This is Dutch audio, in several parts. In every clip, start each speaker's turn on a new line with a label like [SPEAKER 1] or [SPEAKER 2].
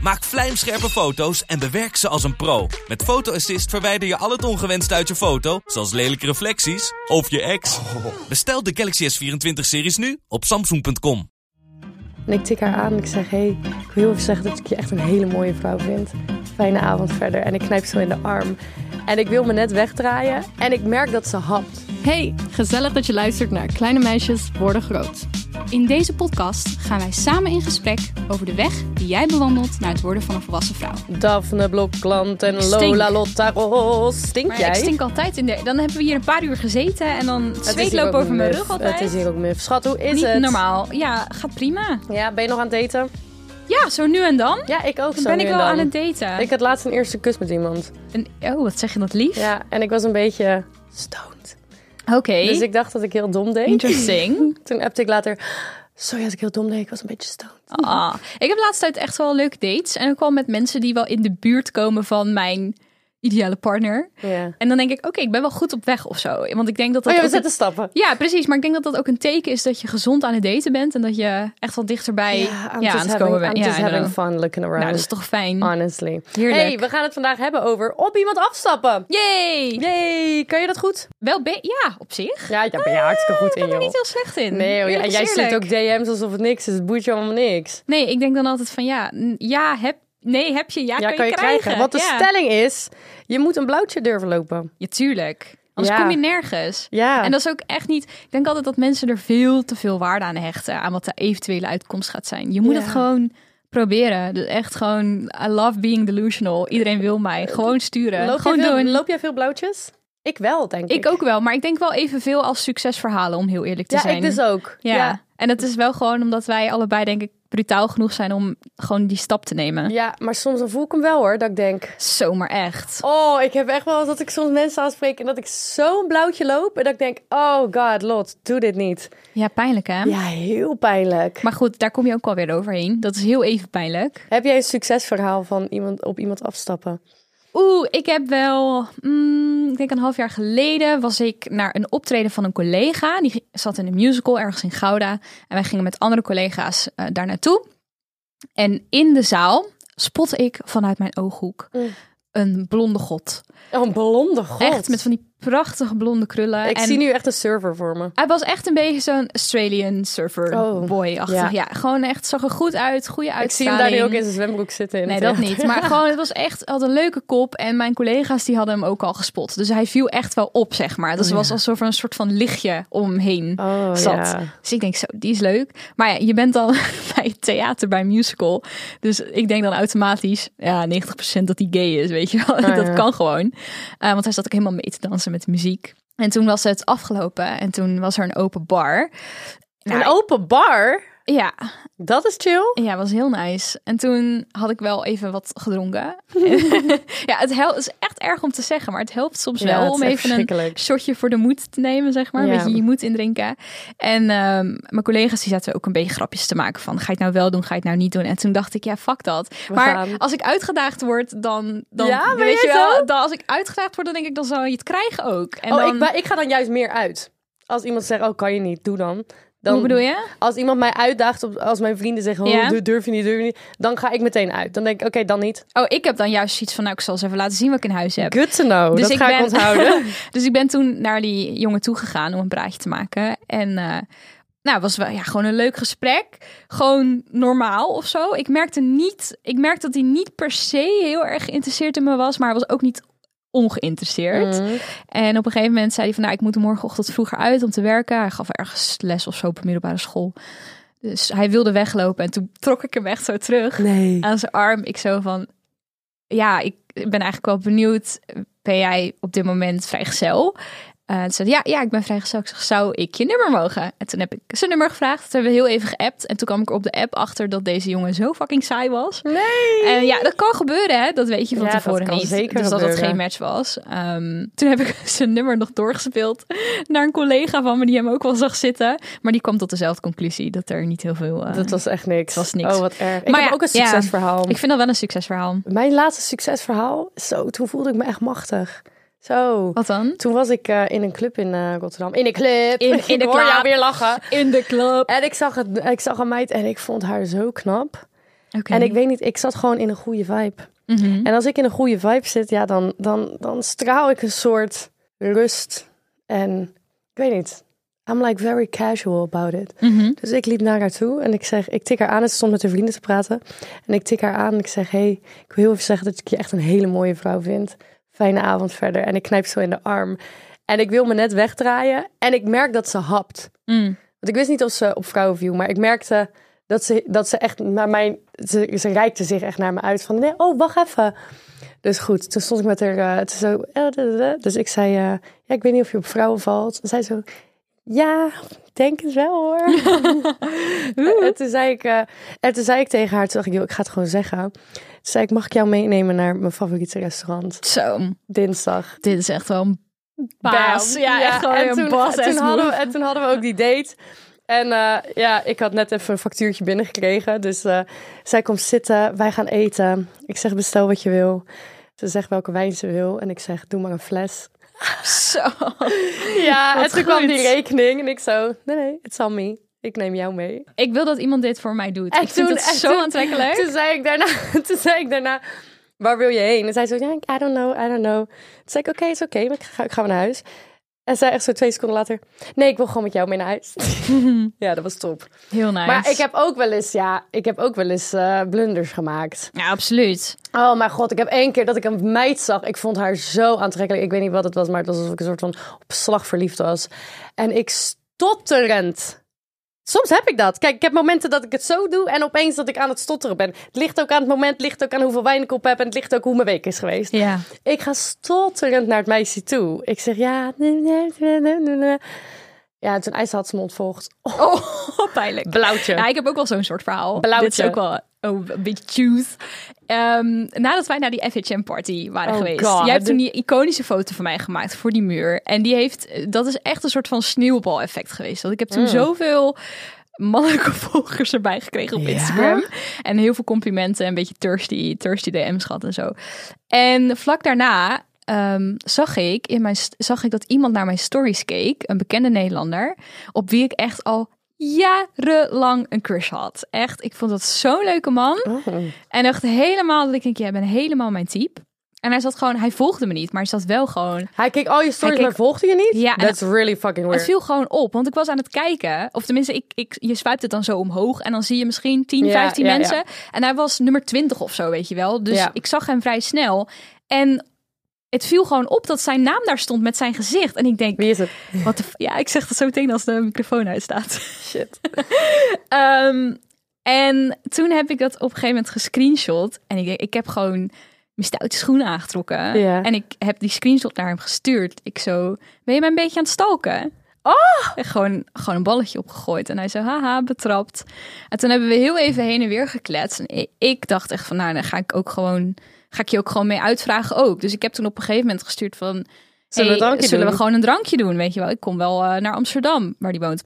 [SPEAKER 1] Maak vlijmscherpe foto's en bewerk ze als een pro. Met Photo Assist verwijder je al het ongewenst uit je foto, zoals lelijke reflecties of je ex. Bestel de Galaxy S24-series nu op samsung.com.
[SPEAKER 2] En ik tik haar aan en ik zeg: Hey, ik wil heel even zeggen dat ik je echt een hele mooie vrouw vind. Fijne avond verder. En ik knijp zo in de arm. En ik wil me net wegdraaien. En ik merk dat ze hapt.
[SPEAKER 3] Hey, gezellig dat je luistert naar Kleine Meisjes Worden Groot.
[SPEAKER 4] In deze podcast gaan wij samen in gesprek over de weg die jij bewandelt naar het worden van een volwassen vrouw.
[SPEAKER 2] Daphne Blokland en
[SPEAKER 4] stink.
[SPEAKER 2] Lola Lotta Ros. Stink
[SPEAKER 5] Maar
[SPEAKER 2] jij?
[SPEAKER 5] ik stink altijd in de. Dan hebben we hier een paar uur gezeten en dan
[SPEAKER 2] Het is
[SPEAKER 5] zweet
[SPEAKER 2] hier
[SPEAKER 5] lopen
[SPEAKER 2] ook
[SPEAKER 5] over mijn
[SPEAKER 2] muf.
[SPEAKER 5] rug altijd.
[SPEAKER 2] Het is hier ook muf. Schat, hoe is
[SPEAKER 5] Niet
[SPEAKER 2] het?
[SPEAKER 5] normaal. Ja, gaat prima.
[SPEAKER 2] Ja, ben je nog aan het daten?
[SPEAKER 5] Ja, zo nu en dan.
[SPEAKER 2] Ja, ik ook. zo
[SPEAKER 5] Dan ben
[SPEAKER 2] nu
[SPEAKER 5] ik
[SPEAKER 2] en
[SPEAKER 5] wel
[SPEAKER 2] dan.
[SPEAKER 5] aan het daten.
[SPEAKER 2] Ik had laatst een eerste kus met iemand.
[SPEAKER 5] Een- oh, wat zeg je dat lief?
[SPEAKER 2] Ja, en ik was een beetje stoned.
[SPEAKER 5] Oké.
[SPEAKER 2] Dus ik dacht dat ik heel dom deed.
[SPEAKER 5] Eh? Interesting.
[SPEAKER 2] Toen appte ik later... Sorry dat ik heel dom deed, ik was een beetje stoned.
[SPEAKER 5] Ah. Ik heb laatst tijd echt wel leuke dates. En ook wel met mensen die wel in de buurt komen van mijn ideale partner.
[SPEAKER 2] Ja.
[SPEAKER 5] En dan denk ik, oké, ik ben wel goed op weg of zo. Want ik denk dat
[SPEAKER 2] Oh
[SPEAKER 5] dat
[SPEAKER 2] ja, we
[SPEAKER 5] ook een-
[SPEAKER 2] zetten stappen.
[SPEAKER 5] Ja, precies. Maar ik denk dat dat ook een teken is dat je gezond aan het daten bent. En dat je echt wel dichterbij ja, aan het komen bent.
[SPEAKER 2] I'm
[SPEAKER 5] Ja,
[SPEAKER 2] just having
[SPEAKER 5] inderdaad.
[SPEAKER 2] fun looking around.
[SPEAKER 5] nou, dat is toch fijn.
[SPEAKER 2] Honestly.
[SPEAKER 5] Heerlijk.
[SPEAKER 2] Hey, we gaan het vandaag hebben over op iemand afstappen.
[SPEAKER 5] Yay!
[SPEAKER 2] Yay, kan je dat goed? Ah,
[SPEAKER 5] Wel be- ja, op zich.
[SPEAKER 2] Ja, ja ben je hartstikke goed in,
[SPEAKER 5] Ik ben er
[SPEAKER 2] joh.
[SPEAKER 5] niet heel slecht in.
[SPEAKER 2] Nee, joh, ja,
[SPEAKER 5] Eerlijk is
[SPEAKER 2] jij stuurt
[SPEAKER 5] eerlijk.
[SPEAKER 2] ook DM's alsof het niks is. Het boeit je allemaal niks.
[SPEAKER 5] Nee, ik denk dan altijd van ja, n- ja heb, nee, heb je, ja,
[SPEAKER 2] Ja,
[SPEAKER 5] kan, je krijgen.
[SPEAKER 2] Wat de
[SPEAKER 5] ja.
[SPEAKER 2] stelling is, je moet een blauwtje durven lopen.
[SPEAKER 5] Ja, tuurlijk. Anders
[SPEAKER 2] Ja.
[SPEAKER 5] kom je nergens.
[SPEAKER 2] Ja.
[SPEAKER 5] En dat is ook echt niet. Ik denk altijd dat mensen er veel te veel waarde aan hechten. Aan wat de eventuele uitkomst gaat zijn. Je moet
[SPEAKER 2] Ja.
[SPEAKER 5] het gewoon proberen. Dus echt gewoon. I love being delusional. Iedereen wil mij. Gewoon sturen.
[SPEAKER 2] Eh, loop,
[SPEAKER 5] gewoon
[SPEAKER 2] jij veel,
[SPEAKER 5] doen.
[SPEAKER 2] loop jij veel blauwtjes? Ik wel, denk ik.
[SPEAKER 5] Ik ook wel. Maar ik denk wel evenveel als succesverhalen. Om heel eerlijk te
[SPEAKER 2] Ja,
[SPEAKER 5] zijn.
[SPEAKER 2] ik dus ook.
[SPEAKER 5] Ja.
[SPEAKER 2] ja.
[SPEAKER 5] en het is wel gewoon omdat wij allebei, denk ik, brutaal genoeg zijn om gewoon die stap te nemen.
[SPEAKER 2] Ja, maar soms dan voel ik hem wel hoor, dat ik denk...
[SPEAKER 5] Zomaar echt.
[SPEAKER 2] Oh, ik heb echt wel eens dat ik soms mensen aanspreek en dat ik zo'n blauwtje loop en dat ik denk, oh god, Lot, doe dit niet.
[SPEAKER 5] Ja, pijnlijk hè?
[SPEAKER 2] Ja, heel pijnlijk.
[SPEAKER 5] Maar goed, daar kom je ook alweer overheen. Dat is heel even pijnlijk.
[SPEAKER 2] Heb jij een succesverhaal van iemand op iemand afstappen?
[SPEAKER 5] Oeh, ik heb wel, mm, ik denk een half jaar geleden was ik naar een optreden van een collega. Die g- zat in een musical ergens in Gouda. En wij gingen met andere collega's eh, daar naartoe. En in de zaal spotte ik vanuit mijn ooghoek een blonde god.
[SPEAKER 2] Oh, een blonde Mm. god.
[SPEAKER 5] Echt met van die prachtige blonde krullen.
[SPEAKER 2] Ik
[SPEAKER 5] en
[SPEAKER 2] zie nu echt een server voor me.
[SPEAKER 5] Hij was echt een beetje zo'n Australian surfer
[SPEAKER 2] Oh,
[SPEAKER 5] boy-achtig.
[SPEAKER 2] ja.
[SPEAKER 5] Ja. gewoon echt zag er goed uit, goede
[SPEAKER 2] Ik zie
[SPEAKER 5] uitstraling.
[SPEAKER 2] hem daar nu ook in zijn zwembroek zitten. In
[SPEAKER 5] Nee,
[SPEAKER 2] het
[SPEAKER 5] dat
[SPEAKER 2] theater.
[SPEAKER 5] niet. Maar gewoon, het was echt, had een leuke kop. En mijn collega's die hadden hem ook al gespot. Dus hij viel echt wel op, zeg maar. Dus er was alsof er een soort van lichtje om hem heen
[SPEAKER 2] Oh,
[SPEAKER 5] zat.
[SPEAKER 2] ja.
[SPEAKER 5] Dus ik denk zo, die is leuk. Maar ja, je bent dan bij het theater, bij een musical. Dus ik denk dan automatisch, ja, 90% dat hij gay is, weet je wel. dat
[SPEAKER 2] Oh, ja.
[SPEAKER 5] kan gewoon. Eh, want hij zat ook helemaal mee te dansen met de muziek. En toen was het afgelopen en toen was er een open bar. Nou,
[SPEAKER 2] Een open bar,
[SPEAKER 5] Ja,
[SPEAKER 2] dat is chill.
[SPEAKER 5] ja, was heel nice. En toen had ik wel even wat gedronken. ja, het hel- is echt erg om te zeggen, maar het helpt soms
[SPEAKER 2] Ja, het
[SPEAKER 5] wel
[SPEAKER 2] is
[SPEAKER 5] om
[SPEAKER 2] echt
[SPEAKER 5] even een
[SPEAKER 2] verschrikkelijk.
[SPEAKER 5] shotje voor de moed te nemen, zeg maar.
[SPEAKER 2] Ja.
[SPEAKER 5] Een beetje je moed indrinken. En ehm, mijn collega's die zaten ook een beetje grapjes te maken van, ga je het nou wel doen, ga je het nou niet doen? En toen dacht ik, ja, fuck dat. maar
[SPEAKER 2] gaan.
[SPEAKER 5] als ik uitgedaagd word, dan, dan
[SPEAKER 2] Ja, ben
[SPEAKER 5] weet je
[SPEAKER 2] jij zo?
[SPEAKER 5] wel, dan, als ik uitgedaagd word, dan denk ik, dan zal je het krijgen ook. En
[SPEAKER 2] oh,
[SPEAKER 5] dan,
[SPEAKER 2] ik, ba- ik ga dan juist meer uit. Als iemand zegt, oh, kan je niet, doe dan. dan
[SPEAKER 5] hoe bedoel je?
[SPEAKER 2] Als iemand mij uitdaagt, op, als mijn vrienden zeggen, oh,
[SPEAKER 5] Ja.
[SPEAKER 2] du- durf je niet, durf je niet. Dan ga ik meteen uit. Dan denk ik, oké, dan niet.
[SPEAKER 5] Oh, ik heb dan juist iets van, nou, ik zal eens even laten zien wat ik in huis heb.
[SPEAKER 2] Good to know, dat ga ik onthouden.
[SPEAKER 5] dus ik ben toen naar die jongen toegegaan om een praatje te maken. En eh, nou, was wel ja, gewoon een leuk gesprek. Gewoon normaal of zo. Ik merkte niet, ik merkte dat hij niet per se heel erg geïnteresseerd in me was, maar hij was ook niet ongeïnteresseerd. En op een gegeven moment zei hij van, nou, ik moet morgenochtend vroeger uit om te werken. Hij gaf ergens les of zo op een middelbare school. Dus hij wilde weglopen en toen trok ik hem echt zo terug
[SPEAKER 2] nee.
[SPEAKER 5] aan zijn arm. Ik zo van, ja, ik ben eigenlijk wel benieuwd. Ben jij op dit moment vrijgezel? eh, toen zei, hij, ja, ja, ik ben vrijgezel. Ik zeg, zou ik je nummer mogen? En toen heb ik zijn nummer gevraagd. Toen hebben we heel even geappt. En toen kwam ik er op de app achter dat deze jongen zo fucking saai was.
[SPEAKER 2] Nee!
[SPEAKER 5] En Eh, ja, dat kan gebeuren, hè? Dat weet je van
[SPEAKER 2] Ja, dat
[SPEAKER 5] tevoren
[SPEAKER 2] kan
[SPEAKER 5] niet.
[SPEAKER 2] zeker
[SPEAKER 5] dus dat het
[SPEAKER 2] gebeuren.
[SPEAKER 5] geen match was. Ehm, toen heb ik zijn nummer nog doorgespeeld naar een collega van me die hem ook wel zag zitten. Maar die kwam tot dezelfde conclusie dat er niet heel veel. eh,
[SPEAKER 2] Dat was echt niks.
[SPEAKER 5] Het was niks.
[SPEAKER 2] Oh, wat erg. Ik
[SPEAKER 5] Maar
[SPEAKER 2] heb
[SPEAKER 5] ja,
[SPEAKER 2] ook een
[SPEAKER 5] ja.
[SPEAKER 2] succesverhaal.
[SPEAKER 5] Ik vind dat wel een succesverhaal.
[SPEAKER 2] Mijn laatste succesverhaal, zo, toen voelde ik me echt machtig. Zo.
[SPEAKER 5] Wat dan?
[SPEAKER 2] Toen was ik eh, in een club in eh, Rotterdam. In een club.
[SPEAKER 5] In- in
[SPEAKER 2] ik
[SPEAKER 5] de
[SPEAKER 2] hoor jou
[SPEAKER 5] club.
[SPEAKER 2] weer lachen.
[SPEAKER 5] In de club.
[SPEAKER 2] En ik zag, het, ik zag een meid en ik vond haar zo knap.
[SPEAKER 5] Mhm. Oké.
[SPEAKER 2] En ik weet niet, ik zat gewoon in een goede vibe.
[SPEAKER 5] Mhm.
[SPEAKER 2] En als ik in een goede vibe zit, ja, dan, dan, dan straal ik een soort rust. En ik weet niet. I'm like very casual about it.
[SPEAKER 5] Mhm.
[SPEAKER 2] Dus ik liep naar haar toe en ik zeg, ik tik haar aan. En ze stond met haar vrienden te praten. En ik tik haar aan en ik zeg, hey, ik wil heel even zeggen dat ik je echt een hele mooie vrouw vind. Fijne avond verder. En ik knijp zo in de arm. En ik wil me net wegdraaien. En ik merk dat ze hapt.
[SPEAKER 5] Mm.
[SPEAKER 2] Want ik wist niet of ze op vrouwen viel, maar ik merkte dat ze, dat ze echt naar mij. Ze, ze reikte zich echt naar me uit van: nee, oh, wacht even. Dus goed, toen stond ik met haar. eh, het is zo, eh, da, da, da. dus ik zei: eh, ja, ik weet niet of je op vrouwen valt. En zij zo: ja, ik denk het wel hoor. en, toen zei ik, eh, en toen zei ik tegen haar: toen dacht ik, joh, ik ga het gewoon zeggen. Toen zei ik: mag ik jou meenemen naar mijn favoriete restaurant?
[SPEAKER 5] Zo,
[SPEAKER 2] Dinsdag.
[SPEAKER 5] dit is echt wel een baas.
[SPEAKER 2] Bam.
[SPEAKER 5] Ja, echt gewoon
[SPEAKER 2] en
[SPEAKER 5] een
[SPEAKER 2] toen,
[SPEAKER 5] boss
[SPEAKER 2] toen
[SPEAKER 5] ass
[SPEAKER 2] hadden we,
[SPEAKER 5] move.
[SPEAKER 2] en toen hadden we ook die date. En eh, ja, ik had net even een factuurtje binnengekregen. Dus eh, zij komt zitten, wij gaan eten. Ik zeg, bestel wat je wil. Ze zegt welke wijn ze wil. En ik zeg, doe maar een fles.
[SPEAKER 5] Zo.
[SPEAKER 2] Ja, en
[SPEAKER 5] Wat
[SPEAKER 2] toen kwam
[SPEAKER 5] goed.
[SPEAKER 2] die rekening. En ik zo, nee, nee, it's on me. Ik neem jou mee.
[SPEAKER 5] Ik wil dat iemand dit voor mij doet.
[SPEAKER 2] En
[SPEAKER 5] ik vind
[SPEAKER 2] toen-
[SPEAKER 5] het
[SPEAKER 2] en
[SPEAKER 5] zo
[SPEAKER 2] toen-
[SPEAKER 5] aantrekkelijk.
[SPEAKER 2] Toen zei ik daarna, toen zei ik daarna waar wil je heen? En zij zo, ja, ik- I don't know, I don't know. Toen zei ik, oké, is oké, maar ik ga, ik ga weer naar huis. En zij echt zo twee seconden later, nee, ik wil gewoon met jou mee naar huis. ja, dat was top.
[SPEAKER 5] Heel nice.
[SPEAKER 2] Maar ik heb ook wel eens, ja, ik heb ook wel eens eh, blunders gemaakt.
[SPEAKER 5] Ja, absoluut.
[SPEAKER 2] Oh mijn god, ik heb één keer dat ik een meid zag. Ik vond haar zo aantrekkelijk. Ik weet niet wat het was, maar het was alsof ik een soort van op slag verliefd was. En ik stotterend. Soms heb ik dat. Kijk, ik heb momenten dat ik het zo doe en opeens dat ik aan het stotteren ben. Het ligt ook aan het moment, het ligt ook aan hoeveel wijn ik op heb en het ligt ook hoe mijn week is geweest.
[SPEAKER 5] Ja.
[SPEAKER 2] Ik ga stotterend naar het meisje toe. Ik zeg ja. nee, nee, nee, nee, nee, nee. Ja, en toen IJssel had ze me ontvolgd. Oh,
[SPEAKER 5] Oh, pijnlijk.
[SPEAKER 2] blauwtje.
[SPEAKER 5] Ja, ik heb ook wel zo'n soort verhaal.
[SPEAKER 2] Blauwtje.
[SPEAKER 5] Dit is ook wel oh, een beetje truth. Ehm, nadat wij naar die FHM-party waren
[SPEAKER 2] Oh
[SPEAKER 5] geweest.
[SPEAKER 2] God.
[SPEAKER 5] Jij hebt toen die iconische foto van mij gemaakt voor die muur. En die heeft, dat is echt een soort van sneeuwbal-effect geweest. Want ik heb toen zoveel mannelijke volgers erbij gekregen op
[SPEAKER 2] Ja?
[SPEAKER 5] Instagram. En heel veel complimenten, een beetje thirsty, thirsty DM's gehad en zo. En vlak daarna ehm, zag, ik in mijn, st- zag ik dat iemand naar mijn stories keek, een bekende Nederlander, op wie ik echt al jarenlang een crush had. Echt, ik vond dat zo'n leuke man. En echt helemaal, dat ik denk, jij bent helemaal mijn type. En hij zat gewoon, hij volgde me niet, maar hij zat wel gewoon
[SPEAKER 2] Hij keek al je stories,
[SPEAKER 5] Hij keek-
[SPEAKER 2] maar volgde je niet?
[SPEAKER 5] Ja, en-
[SPEAKER 2] That's really fucking weird.
[SPEAKER 5] het viel gewoon op, want ik was aan het kijken. Of tenminste, ik, ik, je swipt het dan zo omhoog en dan zie je misschien 10,
[SPEAKER 2] Ja,
[SPEAKER 5] 15
[SPEAKER 2] ja, ja.
[SPEAKER 5] mensen. En hij was nummer 20 of zo, weet je wel. Dus
[SPEAKER 2] Ja.
[SPEAKER 5] ik zag hem vrij snel. En het viel gewoon op dat zijn naam daar stond met zijn gezicht. En ik denk,
[SPEAKER 2] Wie is het?
[SPEAKER 5] wat de f- Ja, ik zeg dat zo meteen als de microfoon uitstaat.
[SPEAKER 2] Shit.
[SPEAKER 5] Ehm, en toen heb ik dat op een gegeven moment gescreenshot. En ik, denk, ik heb gewoon mijn stoute schoenen aangetrokken.
[SPEAKER 2] Ja.
[SPEAKER 5] En ik heb die screenshot naar hem gestuurd. Ik zo, ben je mij een beetje aan het stalken?
[SPEAKER 2] Oh!
[SPEAKER 5] En gewoon, gewoon een balletje opgegooid. En hij zo, haha, betrapt. En toen hebben we heel even heen en weer gekletst. En i- ik dacht echt van, nou, dan ga ik ook gewoon... Ga ik je ook gewoon mee uitvragen ook. Dus ik heb toen op een gegeven moment gestuurd van...
[SPEAKER 2] Zullen we een
[SPEAKER 5] hey,
[SPEAKER 2] drankje
[SPEAKER 5] zullen we
[SPEAKER 2] doen?
[SPEAKER 5] gewoon een drankje doen, weet je wel. Ik kom wel eh, naar Amsterdam, waar die woont.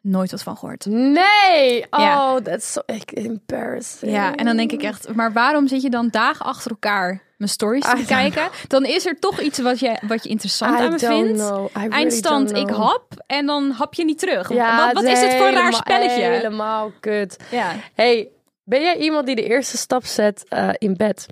[SPEAKER 5] Nooit wat van gehoord.
[SPEAKER 2] Nee! Oh,
[SPEAKER 5] Ja.
[SPEAKER 2] dat is zo echt embarrassing.
[SPEAKER 5] Ja, en dan denk ik echt, maar waarom zit je dan dagen achter elkaar mijn stories
[SPEAKER 2] I
[SPEAKER 5] te
[SPEAKER 2] don't
[SPEAKER 5] kijken? Dan is er toch iets wat je, wat je interessant aan me vindt. Eindstand, ik hap en dan hap je niet terug. wat wat is het voor een raar spelletje?
[SPEAKER 2] Helemaal kut.
[SPEAKER 5] Ja.
[SPEAKER 2] hey, ben jij iemand die de eerste stap zet eh, in bed?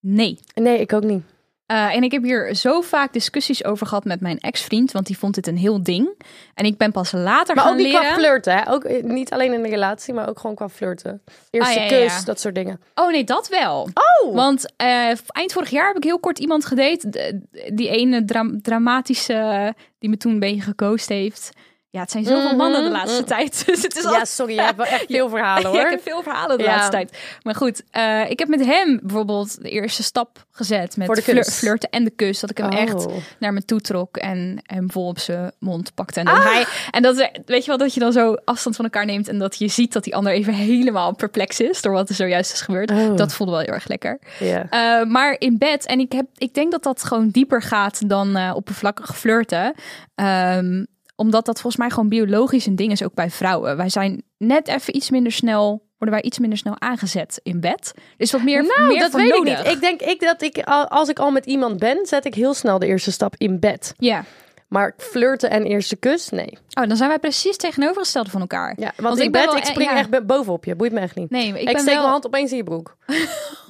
[SPEAKER 5] Nee.
[SPEAKER 2] Nee, ik ook niet.
[SPEAKER 5] Eh, en ik heb hier zo vaak discussies over gehad met mijn ex-vriend, want die vond dit een heel ding. En ik ben pas later
[SPEAKER 2] Maar
[SPEAKER 5] gaan
[SPEAKER 2] ook niet qua
[SPEAKER 5] leren.
[SPEAKER 2] flirten, hè? Ook, eh, niet alleen in een relatie, maar ook gewoon qua flirten. Eerste
[SPEAKER 5] Ah, ja, ja, ja.
[SPEAKER 2] kus, dat soort dingen.
[SPEAKER 5] Oh nee, dat wel.
[SPEAKER 2] Oh!
[SPEAKER 5] Want eh, eind vorig jaar heb ik heel kort iemand gedate. D- Die ene dra- dramatische die me toen een beetje gekozen heeft. Ja, het zijn zoveel
[SPEAKER 2] Mhm,
[SPEAKER 5] mannen de laatste
[SPEAKER 2] mhm.
[SPEAKER 5] tijd. Dus het is al
[SPEAKER 2] Ja, sorry, je hebt wel echt veel verhalen
[SPEAKER 5] Ja,
[SPEAKER 2] hoor.
[SPEAKER 5] ik heb veel verhalen de
[SPEAKER 2] Ja.
[SPEAKER 5] laatste tijd. Maar goed, eh, ik heb met hem bijvoorbeeld de eerste stap gezet met
[SPEAKER 2] Voor de
[SPEAKER 5] flir-
[SPEAKER 2] kus.
[SPEAKER 5] flirten en de kus. Dat ik hem
[SPEAKER 2] Oh.
[SPEAKER 5] echt naar me toe trok en hem vol op zijn mond pakte. En, dat
[SPEAKER 2] Ah!
[SPEAKER 5] hij, en dat, we- weet je wel, dat je dan zo afstand van elkaar neemt en dat je ziet dat die ander even helemaal perplex is door wat er zojuist is gebeurd.
[SPEAKER 2] Oh.
[SPEAKER 5] Dat voelde wel heel erg lekker.
[SPEAKER 2] Ja.
[SPEAKER 5] Eh, maar in bed, en ik, heb, ik denk dat dat gewoon dieper gaat dan eh oppervlakkig flirten. Ehm, omdat dat volgens mij gewoon biologisch een ding is, ook bij vrouwen. Wij zijn net even iets minder snel, worden wij iets minder snel aangezet in bed. Er is wat meer,
[SPEAKER 2] nou,
[SPEAKER 5] meer
[SPEAKER 2] dat
[SPEAKER 5] voor
[SPEAKER 2] weet
[SPEAKER 5] nodig.
[SPEAKER 2] ik niet. Ik denk ik dat ik, al- als ik al met iemand ben, zet ik heel snel de eerste stap in bed.
[SPEAKER 5] Ja.
[SPEAKER 2] Maar flirten en eerste kus, nee.
[SPEAKER 5] Oh, dan zijn wij precies tegenovergesteld van elkaar.
[SPEAKER 2] Ja, want, in bed, ik spring
[SPEAKER 5] e- ja.
[SPEAKER 2] echt be- bovenop je. Boeit me echt niet.
[SPEAKER 5] Nee, maar ik,
[SPEAKER 2] ik
[SPEAKER 5] ben
[SPEAKER 2] steek
[SPEAKER 5] wel...
[SPEAKER 2] mijn hand opeens in je broek.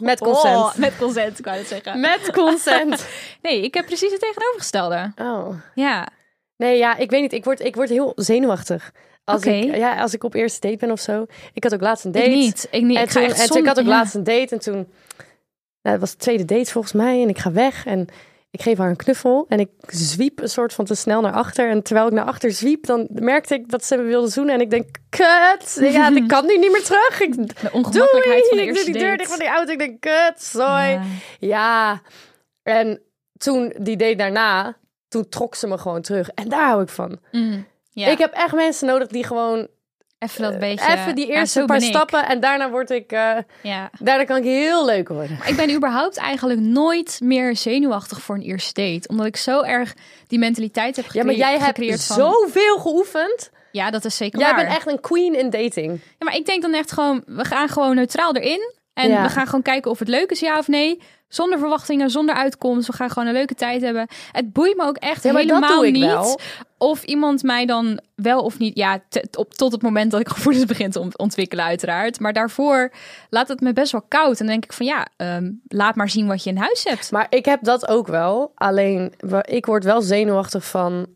[SPEAKER 2] Met
[SPEAKER 5] Oh,
[SPEAKER 2] consent.
[SPEAKER 5] met consent, ik wou het zeggen.
[SPEAKER 2] Met consent.
[SPEAKER 5] Nee, ik heb precies het tegenovergestelde.
[SPEAKER 2] Oh.
[SPEAKER 5] Ja.
[SPEAKER 2] Nee, ja, ik weet niet. Ik word, ik word heel zenuwachtig. Als, ik,
[SPEAKER 5] Oké.
[SPEAKER 2] ja, als ik op eerste date ben of zo. Ik had ook laatst een date.
[SPEAKER 5] Ik niet. Ik niet.
[SPEAKER 2] En
[SPEAKER 5] ik ga
[SPEAKER 2] toen,
[SPEAKER 5] echt
[SPEAKER 2] en toen-
[SPEAKER 5] som-
[SPEAKER 2] ik had ook
[SPEAKER 5] ja.
[SPEAKER 2] laatst een date en toen... Nou, het was de tweede date volgens mij en ik ga weg en ik geef haar een knuffel en ik zwiep een soort van te snel naar achter. En terwijl ik naar achter zwiep, dan merkte ik dat ze me wilde zoenen en ik denk, kut, ja, ik kan nu niet meer terug. Ik, doei,
[SPEAKER 5] De ongemakkelijkheid van de
[SPEAKER 2] ik
[SPEAKER 5] eerste
[SPEAKER 2] doe die deur
[SPEAKER 5] date.
[SPEAKER 2] dicht van die auto. Ik denk, kut, sorry.
[SPEAKER 5] Ja.
[SPEAKER 2] Ja, en toen die date daarna, toen trok ze me gewoon terug. En daar hou ik van.
[SPEAKER 5] Mm, ja.
[SPEAKER 2] Ik heb echt mensen nodig die gewoon
[SPEAKER 5] Eh, even dat beetje.
[SPEAKER 2] even die
[SPEAKER 5] ja,
[SPEAKER 2] eerste
[SPEAKER 5] zo
[SPEAKER 2] paar
[SPEAKER 5] ben ik.
[SPEAKER 2] stappen en daarna word ik, eh,
[SPEAKER 5] Ja.
[SPEAKER 2] daarna kan ik heel leuk worden.
[SPEAKER 5] Ik ben überhaupt eigenlijk nooit meer zenuwachtig voor een eerste date. Omdat ik zo erg die mentaliteit heb
[SPEAKER 2] Ja,
[SPEAKER 5] gecreë-
[SPEAKER 2] maar
[SPEAKER 5] gecreëerd.
[SPEAKER 2] jij hebt
[SPEAKER 5] van-
[SPEAKER 2] zoveel geoefend.
[SPEAKER 5] Ja, dat is zeker
[SPEAKER 2] Jij
[SPEAKER 5] waar.
[SPEAKER 2] bent echt een queen in dating.
[SPEAKER 5] Ja, maar ik denk dan echt gewoon, we gaan gewoon neutraal erin. En
[SPEAKER 2] Ja.
[SPEAKER 5] we gaan gewoon kijken of het leuk is, ja of nee. Zonder verwachtingen, zonder uitkomst. We gaan gewoon een leuke tijd hebben. Het boeit me ook echt
[SPEAKER 2] Ja, maar dat
[SPEAKER 5] helemaal
[SPEAKER 2] doe ik
[SPEAKER 5] niet
[SPEAKER 2] wel.
[SPEAKER 5] of iemand mij dan wel of niet... Ja, te- op, tot het moment dat ik gevoelens begin te ont- ontwikkelen uiteraard. Maar daarvoor laat het me best wel koud. En dan denk ik van ja, ehm, laat maar zien wat je in huis hebt.
[SPEAKER 2] Maar ik heb dat ook wel. Alleen, wa- ik word wel zenuwachtig van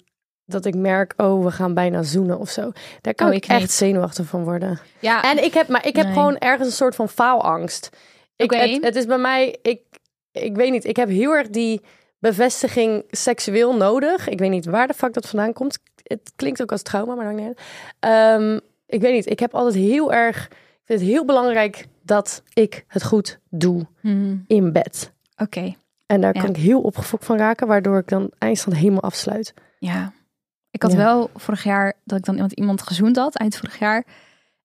[SPEAKER 2] dat ik merk, oh, we gaan bijna zoenen of zo. Daar kan
[SPEAKER 5] Oh,
[SPEAKER 2] ik
[SPEAKER 5] ik
[SPEAKER 2] echt
[SPEAKER 5] niet.
[SPEAKER 2] zenuwachtig van worden.
[SPEAKER 5] ja,
[SPEAKER 2] En ik heb, maar ik heb
[SPEAKER 5] Nee.
[SPEAKER 2] gewoon ergens een soort van faalangst. Ik,
[SPEAKER 5] Oké.
[SPEAKER 2] het, het is bij mij, ik, ik weet niet, ik heb heel erg die bevestiging seksueel nodig. Ik weet niet waar de fuck dat vandaan komt. Het klinkt ook als trauma, maar dan niet. uit. Ehm, ik weet niet, ik heb altijd heel erg, ik vind het heel belangrijk dat ik het goed doe
[SPEAKER 5] hmm,
[SPEAKER 2] in bed.
[SPEAKER 5] oké.
[SPEAKER 2] En daar
[SPEAKER 5] Ja.
[SPEAKER 2] kan ik heel opgefokt van raken, waardoor ik dan eindstand helemaal afsluit.
[SPEAKER 5] Ja. Ik had
[SPEAKER 2] Ja.
[SPEAKER 5] wel vorig jaar dat ik dan iemand, iemand gezoend had, eind vorig jaar.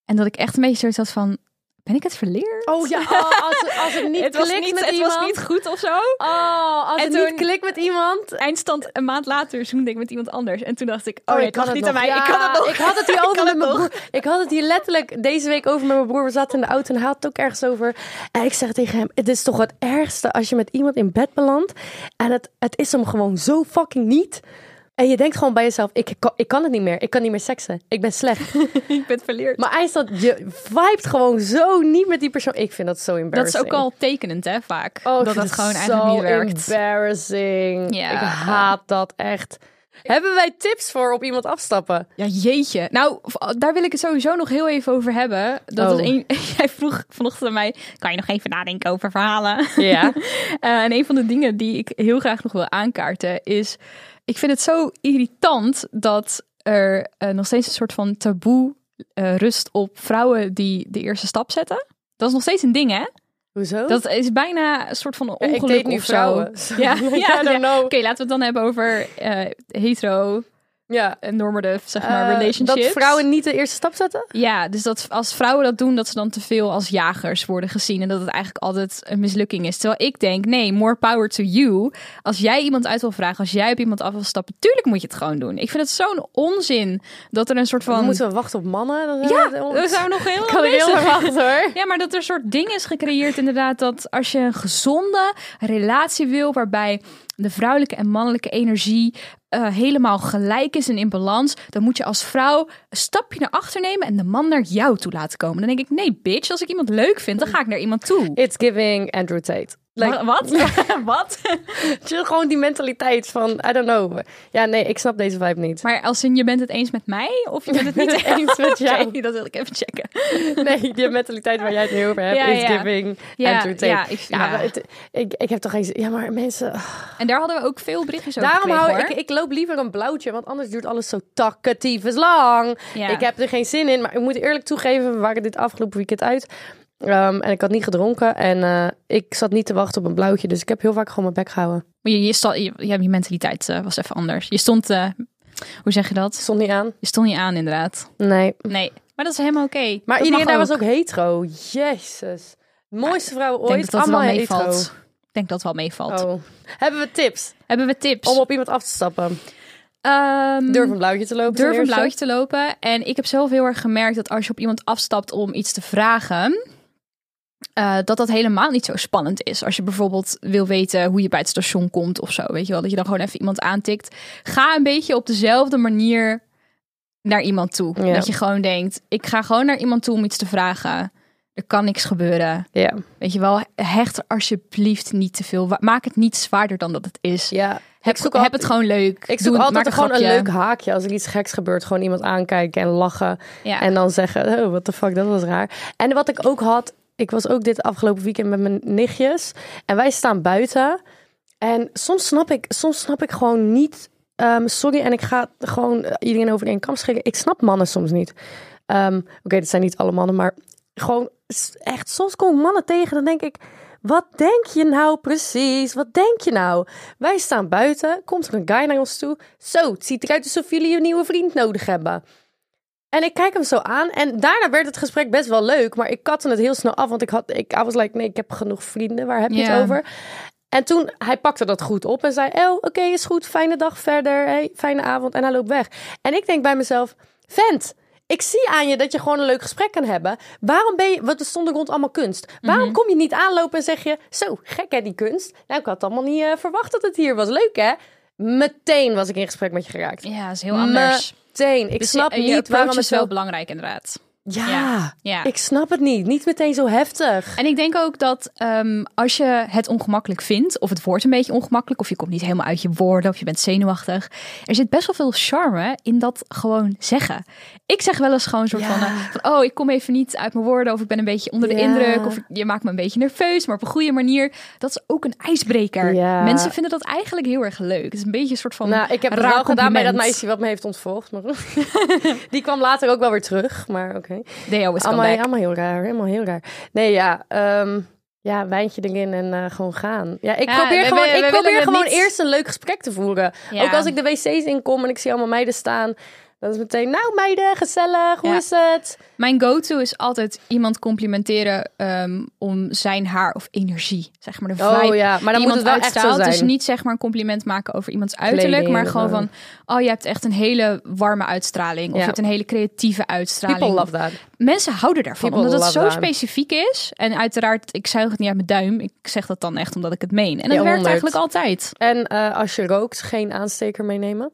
[SPEAKER 5] En dat ik echt een beetje zoiets had van, ben ik het verleerd?
[SPEAKER 2] Oh ja, als, het niet
[SPEAKER 5] het was
[SPEAKER 2] klikt
[SPEAKER 5] niet,
[SPEAKER 2] met
[SPEAKER 5] het
[SPEAKER 2] iemand.
[SPEAKER 5] was niet goed of zo.
[SPEAKER 2] Oh, als
[SPEAKER 5] En
[SPEAKER 2] het
[SPEAKER 5] toen-
[SPEAKER 2] niet klikt met iemand,
[SPEAKER 5] Eindstand een maand later zoende ik met iemand anders. En toen dacht ik, oh,
[SPEAKER 2] Oh,
[SPEAKER 5] nee,
[SPEAKER 2] ik
[SPEAKER 5] het
[SPEAKER 2] kan
[SPEAKER 5] lag
[SPEAKER 2] het
[SPEAKER 5] niet
[SPEAKER 2] nog.
[SPEAKER 5] aan mij. ik
[SPEAKER 2] Ja,
[SPEAKER 5] kan het nog.
[SPEAKER 2] Ik had het hier over
[SPEAKER 5] kan
[SPEAKER 2] met
[SPEAKER 5] het
[SPEAKER 2] mijn
[SPEAKER 5] nog.
[SPEAKER 2] broer. Ik had het hier letterlijk deze week over met mijn broer. We zaten in de auto en hij had het ook ergens over. En ik zeg tegen hem, het is toch het ergste als je met iemand in bed belandt. En het, het is hem gewoon zo fucking niet. En je denkt gewoon bij jezelf, ik kan, ik kan het niet meer. Ik kan niet meer seksen. Ik ben slecht.
[SPEAKER 5] Ik ben verleerd.
[SPEAKER 2] Maar eindstand, je vibet gewoon zo niet met die persoon. Ik vind dat zo
[SPEAKER 5] dat is
[SPEAKER 2] embarrassing.
[SPEAKER 5] ook al tekenend, hè, vaak.
[SPEAKER 2] Oh, ik
[SPEAKER 5] dat
[SPEAKER 2] vind
[SPEAKER 5] dat
[SPEAKER 2] het
[SPEAKER 5] gewoon eigenlijk
[SPEAKER 2] zo
[SPEAKER 5] niet werkt.
[SPEAKER 2] embarrassing.
[SPEAKER 5] Ja.
[SPEAKER 2] Ik haat dat echt. Hebben wij tips voor op iemand afstappen?
[SPEAKER 5] Ja, jeetje. Nou, v- daar wil ik het sowieso nog heel even over hebben. Dat
[SPEAKER 2] Oh.
[SPEAKER 5] was een, jij vroeg vanochtend aan mij, kan je nog even nadenken over verhalen?
[SPEAKER 2] Ja.
[SPEAKER 5] Eh, en een van de dingen die ik heel graag nog wil aankaarten is... Ik vind het zo irritant dat er eh, nog steeds een soort van taboe eh, rust op vrouwen die de eerste stap zetten. Dat is nog steeds een ding, hè?
[SPEAKER 2] Hoezo?
[SPEAKER 5] Dat is bijna een soort van een
[SPEAKER 2] Ja, ik
[SPEAKER 5] ongeluk
[SPEAKER 2] date nu
[SPEAKER 5] of zo.
[SPEAKER 2] vrouwen.
[SPEAKER 5] Ja,
[SPEAKER 2] I
[SPEAKER 5] ja,
[SPEAKER 2] don't
[SPEAKER 5] ja.
[SPEAKER 2] know.
[SPEAKER 5] Oké, laten we het dan hebben over eh, hetero,
[SPEAKER 2] Ja.
[SPEAKER 5] eh, normative, zeg maar,
[SPEAKER 2] Eh,
[SPEAKER 5] relationships.
[SPEAKER 2] Dat vrouwen niet de eerste stap zetten?
[SPEAKER 5] Ja, dus dat als vrouwen dat doen, dat ze dan te veel als jagers worden gezien. En dat het eigenlijk altijd een mislukking is. Terwijl ik denk, nee, more power to you. Als jij iemand uit wil vragen, als jij op iemand af wil stappen, tuurlijk moet je het gewoon doen. Ik vind het zo'n onzin dat er een soort
[SPEAKER 2] Dan
[SPEAKER 5] van.
[SPEAKER 2] moeten we wachten op mannen. Dan
[SPEAKER 5] Ja,
[SPEAKER 2] we
[SPEAKER 5] we zijn nog heel
[SPEAKER 2] kan
[SPEAKER 5] lang
[SPEAKER 2] ik heel
[SPEAKER 5] bezig.
[SPEAKER 2] lang wachten hoor.
[SPEAKER 5] Ja, maar dat er een soort ding is gecreëerd inderdaad dat als je een gezonde relatie wil waarbij de vrouwelijke en mannelijke energie eh, helemaal gelijk is en in balans, dan moet je als vrouw een stapje naar achter nemen en de man naar jou toe laten komen. Dan denk ik, nee bitch, als ik iemand leuk vind, dan ga ik naar iemand toe.
[SPEAKER 2] It's giving Andrew Tate. Like-
[SPEAKER 5] Wa- Wat? Wat?
[SPEAKER 2] Het is Gewoon die mentaliteit van, I don't know. Ja, nee, ik snap deze vibe niet.
[SPEAKER 5] Maar als in je bent het eens met mij of je bent het niet eens
[SPEAKER 2] met jou.
[SPEAKER 5] dat wil ik even checken.
[SPEAKER 2] Nee, die mentaliteit waar jij het heel over hebt,
[SPEAKER 5] Ja,
[SPEAKER 2] is
[SPEAKER 5] ja.
[SPEAKER 2] giving,
[SPEAKER 5] Ja,
[SPEAKER 2] entertain.
[SPEAKER 5] ja, ik- ja.
[SPEAKER 2] maar het- ik, ik heb toch geen zin. Ja, maar mensen...
[SPEAKER 5] En daar hadden we ook veel berichtjes over.
[SPEAKER 2] Daarom
[SPEAKER 5] gekregen,
[SPEAKER 2] hou ik,
[SPEAKER 5] hoor.
[SPEAKER 2] ik loop liever een blauwtje, want anders duurt alles zo takkatief lang.
[SPEAKER 5] Ja.
[SPEAKER 2] Ik heb er geen zin in, maar ik moet eerlijk toegeven, we waren dit afgelopen weekend uit. Ehm, en ik had niet gedronken en eh, ik zat niet te wachten op een blauwtje, dus ik heb heel vaak gewoon mijn bek gehouden.
[SPEAKER 5] Maar je, je, stond- je, ja, je mentaliteit eh, was even anders. Je stond, eh, hoe zeg je dat?
[SPEAKER 2] Stond niet aan?
[SPEAKER 5] Je stond niet aan inderdaad.
[SPEAKER 2] Nee.
[SPEAKER 5] Nee, maar dat is helemaal oké.
[SPEAKER 2] Maar
[SPEAKER 5] Dat
[SPEAKER 2] iedereen
[SPEAKER 5] mag
[SPEAKER 2] daar
[SPEAKER 5] ook.
[SPEAKER 2] was ook hetero. Jezus. Mooiste vrouw
[SPEAKER 5] Ik
[SPEAKER 2] ooit.
[SPEAKER 5] denk dat dat wel
[SPEAKER 2] allemaal
[SPEAKER 5] meevalt. Ik denk dat het wel meevalt.
[SPEAKER 2] hetero. Oh. Hebben we tips
[SPEAKER 5] Hebben we tips?
[SPEAKER 2] om op iemand af te stappen?
[SPEAKER 5] Ehm,
[SPEAKER 2] Hmm. Durf een blauwtje te lopen.
[SPEAKER 5] durf
[SPEAKER 2] ten
[SPEAKER 5] een
[SPEAKER 2] eerste.
[SPEAKER 5] blauwtje te lopen. En ik heb zelf heel erg gemerkt dat als je op iemand afstapt om iets te vragen, eh, dat dat helemaal niet zo spannend is. Als je bijvoorbeeld wil weten hoe je bij het station komt of zo, weet je wel, dat je dan gewoon even iemand aantikt. Ga een beetje op dezelfde manier naar iemand toe.
[SPEAKER 2] Ja.
[SPEAKER 5] Dat je gewoon denkt, ik ga gewoon naar iemand toe om iets te vragen. Er kan niks gebeuren.
[SPEAKER 2] Ja.
[SPEAKER 5] Weet je wel, hecht er alsjeblieft niet te veel. wa- Maak het niet zwaarder dan dat het is.
[SPEAKER 2] ja.
[SPEAKER 5] Heb,
[SPEAKER 2] zoek
[SPEAKER 5] heb
[SPEAKER 2] al-
[SPEAKER 5] het gewoon leuk.
[SPEAKER 2] Ik zoek
[SPEAKER 5] Doe- maak
[SPEAKER 2] altijd gewoon een
[SPEAKER 5] grapje.
[SPEAKER 2] leuk haakje. Als er iets geks gebeurt, gewoon iemand aankijken en lachen.
[SPEAKER 5] Ja.
[SPEAKER 2] En dan zeggen, oh, what the fuck, dat was raar. En wat ik ook had, ik was ook dit afgelopen weekend met mijn nichtjes. En wij staan buiten. En soms snap ik, soms snap ik gewoon niet... ehm, sorry, en ik ga gewoon eh, iedereen over één kam schrikken. Ik snap mannen soms niet. Ehm, Oké, dat zijn niet alle mannen, maar gewoon s- echt... Soms kom ik mannen tegen, dan denk ik... Wat denk je nou precies? Wat denk je nou? Wij staan buiten, komt er een guy naar ons toe. Zo, het ziet eruit alsof jullie een nieuwe vriend nodig hebben. En ik kijk hem zo aan. En daarna werd het gesprek best wel leuk. Maar ik katte het heel snel af. Want ik had, ik, I was like, nee, ik heb genoeg vrienden. Waar heb je
[SPEAKER 5] Ja.
[SPEAKER 2] het over? En toen, hij pakte dat goed op en zei, oh, oké, is goed. Fijne dag verder. Hey, fijne avond. En hij loopt weg. En ik denk bij mezelf, vent, ik zie aan je dat je gewoon een leuk gesprek kan hebben. Waarom ben je, want er stonden rond allemaal kunst. Waarom
[SPEAKER 5] Mhm.
[SPEAKER 2] kom je niet aanlopen en zeg je, zo, gek hè, die kunst. Nou, ik had allemaal niet eh, verwacht dat het hier was. Leuk hè? Meteen was ik in gesprek met je geraakt.
[SPEAKER 5] Ja, is heel anders.
[SPEAKER 2] Meteen. Ik eh,
[SPEAKER 5] Dus je-
[SPEAKER 2] snap
[SPEAKER 5] je
[SPEAKER 2] niet
[SPEAKER 5] approach
[SPEAKER 2] waarom het
[SPEAKER 5] is wel
[SPEAKER 2] zo
[SPEAKER 5] belangrijk inderdaad.
[SPEAKER 2] ja,
[SPEAKER 5] Ja, ja.
[SPEAKER 2] ik snap het niet. Niet meteen zo heftig.
[SPEAKER 5] En ik denk ook dat ehm, als je het ongemakkelijk vindt, of het wordt een beetje ongemakkelijk, of je komt niet helemaal uit je woorden, of je bent zenuwachtig, er zit best wel veel charme in dat gewoon zeggen. Ik zeg wel eens gewoon een soort
[SPEAKER 2] Ja.
[SPEAKER 5] van, eh, van, oh, ik kom even niet uit mijn woorden, of ik ben een beetje onder de
[SPEAKER 2] Ja.
[SPEAKER 5] indruk, of je maakt me een beetje nerveus, maar op een goede manier. Dat is ook een ijsbreker.
[SPEAKER 2] Ja.
[SPEAKER 5] Mensen vinden dat eigenlijk heel erg leuk. Het is een beetje een soort van
[SPEAKER 2] Nou, ik heb het
[SPEAKER 5] raar
[SPEAKER 2] wel gedaan bij dat
[SPEAKER 5] compliment.
[SPEAKER 2] meisje wat me heeft ontvolgd. Maar die kwam later ook wel weer terug. Maar oké.
[SPEAKER 5] They always come
[SPEAKER 2] Allemaal,
[SPEAKER 5] back.
[SPEAKER 2] allemaal heel raar. Helemaal heel raar. Nee, ja. ehm, ja, wijntje erin en eh, gewoon gaan. Ja, ik
[SPEAKER 5] Ja,
[SPEAKER 2] probeer
[SPEAKER 5] we-
[SPEAKER 2] gewoon,
[SPEAKER 5] we- we
[SPEAKER 2] ik
[SPEAKER 5] willen
[SPEAKER 2] probeer
[SPEAKER 5] het
[SPEAKER 2] gewoon
[SPEAKER 5] niet-
[SPEAKER 2] eerst een leuk gesprek te voeren.
[SPEAKER 5] Ja.
[SPEAKER 2] Ook als ik de wc's inkom en ik zie allemaal meiden staan. Dan is het meteen, nou meiden, gezellig, hoe
[SPEAKER 5] Ja.
[SPEAKER 2] is het?
[SPEAKER 5] Mijn go-to is altijd iemand complimenteren ehm, om zijn haar of energie, zeg maar de
[SPEAKER 2] Oh,
[SPEAKER 5] vibe.
[SPEAKER 2] ja, maar dan moet
[SPEAKER 5] die iemand
[SPEAKER 2] het wel echt
[SPEAKER 5] uitstraalt.
[SPEAKER 2] zo zijn.
[SPEAKER 5] Dus niet zeg maar een compliment maken over iemands uiterlijk,
[SPEAKER 2] Kleding
[SPEAKER 5] maar
[SPEAKER 2] of
[SPEAKER 5] gewoon
[SPEAKER 2] zo.
[SPEAKER 5] van, oh je hebt echt een hele warme uitstraling, of
[SPEAKER 2] Ja.
[SPEAKER 5] je hebt een hele creatieve uitstraling.
[SPEAKER 2] People love that.
[SPEAKER 5] Mensen houden daarvan,
[SPEAKER 2] People
[SPEAKER 5] omdat het
[SPEAKER 2] love
[SPEAKER 5] zo
[SPEAKER 2] that.
[SPEAKER 5] specifiek is. En uiteraard, ik zuig het niet uit mijn duim. Ik zeg dat dan echt omdat ik het meen. En dat
[SPEAKER 2] Ja,
[SPEAKER 5] werkt
[SPEAKER 2] 100.
[SPEAKER 5] eigenlijk altijd.
[SPEAKER 2] En eh, als je rookt, geen aansteker meenemen.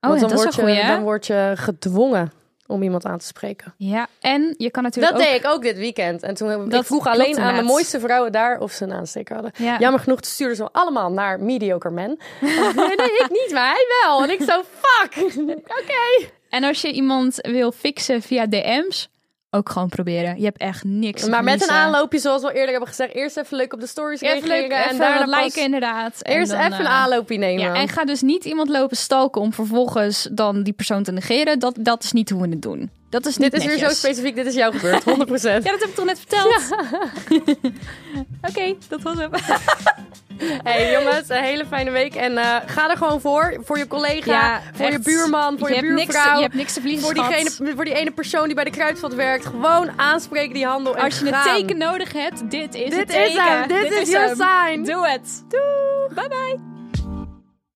[SPEAKER 5] Oh,
[SPEAKER 2] Want
[SPEAKER 5] ja,
[SPEAKER 2] dan,
[SPEAKER 5] dat
[SPEAKER 2] word
[SPEAKER 5] is een goeie.
[SPEAKER 2] je,
[SPEAKER 5] hè?
[SPEAKER 2] dan word je gedwongen om iemand aan te spreken.
[SPEAKER 5] Ja, en je kan natuurlijk
[SPEAKER 2] Dat
[SPEAKER 5] ook...
[SPEAKER 2] deed ik ook dit weekend. En toen hebben-
[SPEAKER 5] Dat
[SPEAKER 2] ik vroeg
[SPEAKER 5] klopt
[SPEAKER 2] alleen aan de
[SPEAKER 5] inderdaad.
[SPEAKER 2] mooiste vrouwen daar of ze een aansteker hadden.
[SPEAKER 5] Ja.
[SPEAKER 2] Jammer genoeg stuurden ze allemaal naar mediocre men. nee, ik niet, maar hij wel. En ik zo, fuck. Oké.
[SPEAKER 5] En als je iemand wil fixen via DM's, ook gewoon proberen. Je hebt echt niks. te
[SPEAKER 2] Maar met een
[SPEAKER 5] verliezen.
[SPEAKER 2] aanloopje, zoals we al eerder hebben gezegd. Eerst even leuk op de stories
[SPEAKER 5] Even
[SPEAKER 2] reageren.
[SPEAKER 5] leuk,
[SPEAKER 2] en
[SPEAKER 5] even
[SPEAKER 2] daarna
[SPEAKER 5] wat
[SPEAKER 2] pas
[SPEAKER 5] liken inderdaad. En
[SPEAKER 2] Eerst
[SPEAKER 5] dan,
[SPEAKER 2] even een
[SPEAKER 5] eh,
[SPEAKER 2] aanloopje nemen.
[SPEAKER 5] Ja, en ga dus niet iemand lopen stalken om vervolgens dan die persoon te negeren. Dat, dat is niet hoe we het doen. Dat is niet
[SPEAKER 2] dit is weer zo
[SPEAKER 5] netjes.
[SPEAKER 2] specifiek. Dit is jou gebeurd, 100%.
[SPEAKER 5] Ja, dat heb ik toch net verteld? Oké, dat was hem.
[SPEAKER 2] Hey jongens, een hele fijne week. En eh, ga er gewoon voor. Voor je collega, voor je
[SPEAKER 5] echt.
[SPEAKER 2] buurman, voor je,
[SPEAKER 5] hebt niks-
[SPEAKER 2] buurvrouw.
[SPEAKER 5] je hebt niks te verliezen,
[SPEAKER 2] voor,
[SPEAKER 5] schat.
[SPEAKER 2] diegene, voor die ene persoon die bij de kruidvat werkt. Gewoon aanspreken die handel en
[SPEAKER 5] Als je een
[SPEAKER 2] gaan.
[SPEAKER 5] teken nodig hebt, dit is
[SPEAKER 2] Dit
[SPEAKER 5] het
[SPEAKER 2] is
[SPEAKER 5] teken.
[SPEAKER 2] hem, dit is your
[SPEAKER 5] hem.
[SPEAKER 2] sign.
[SPEAKER 5] Doe het. Doei. Bye bye.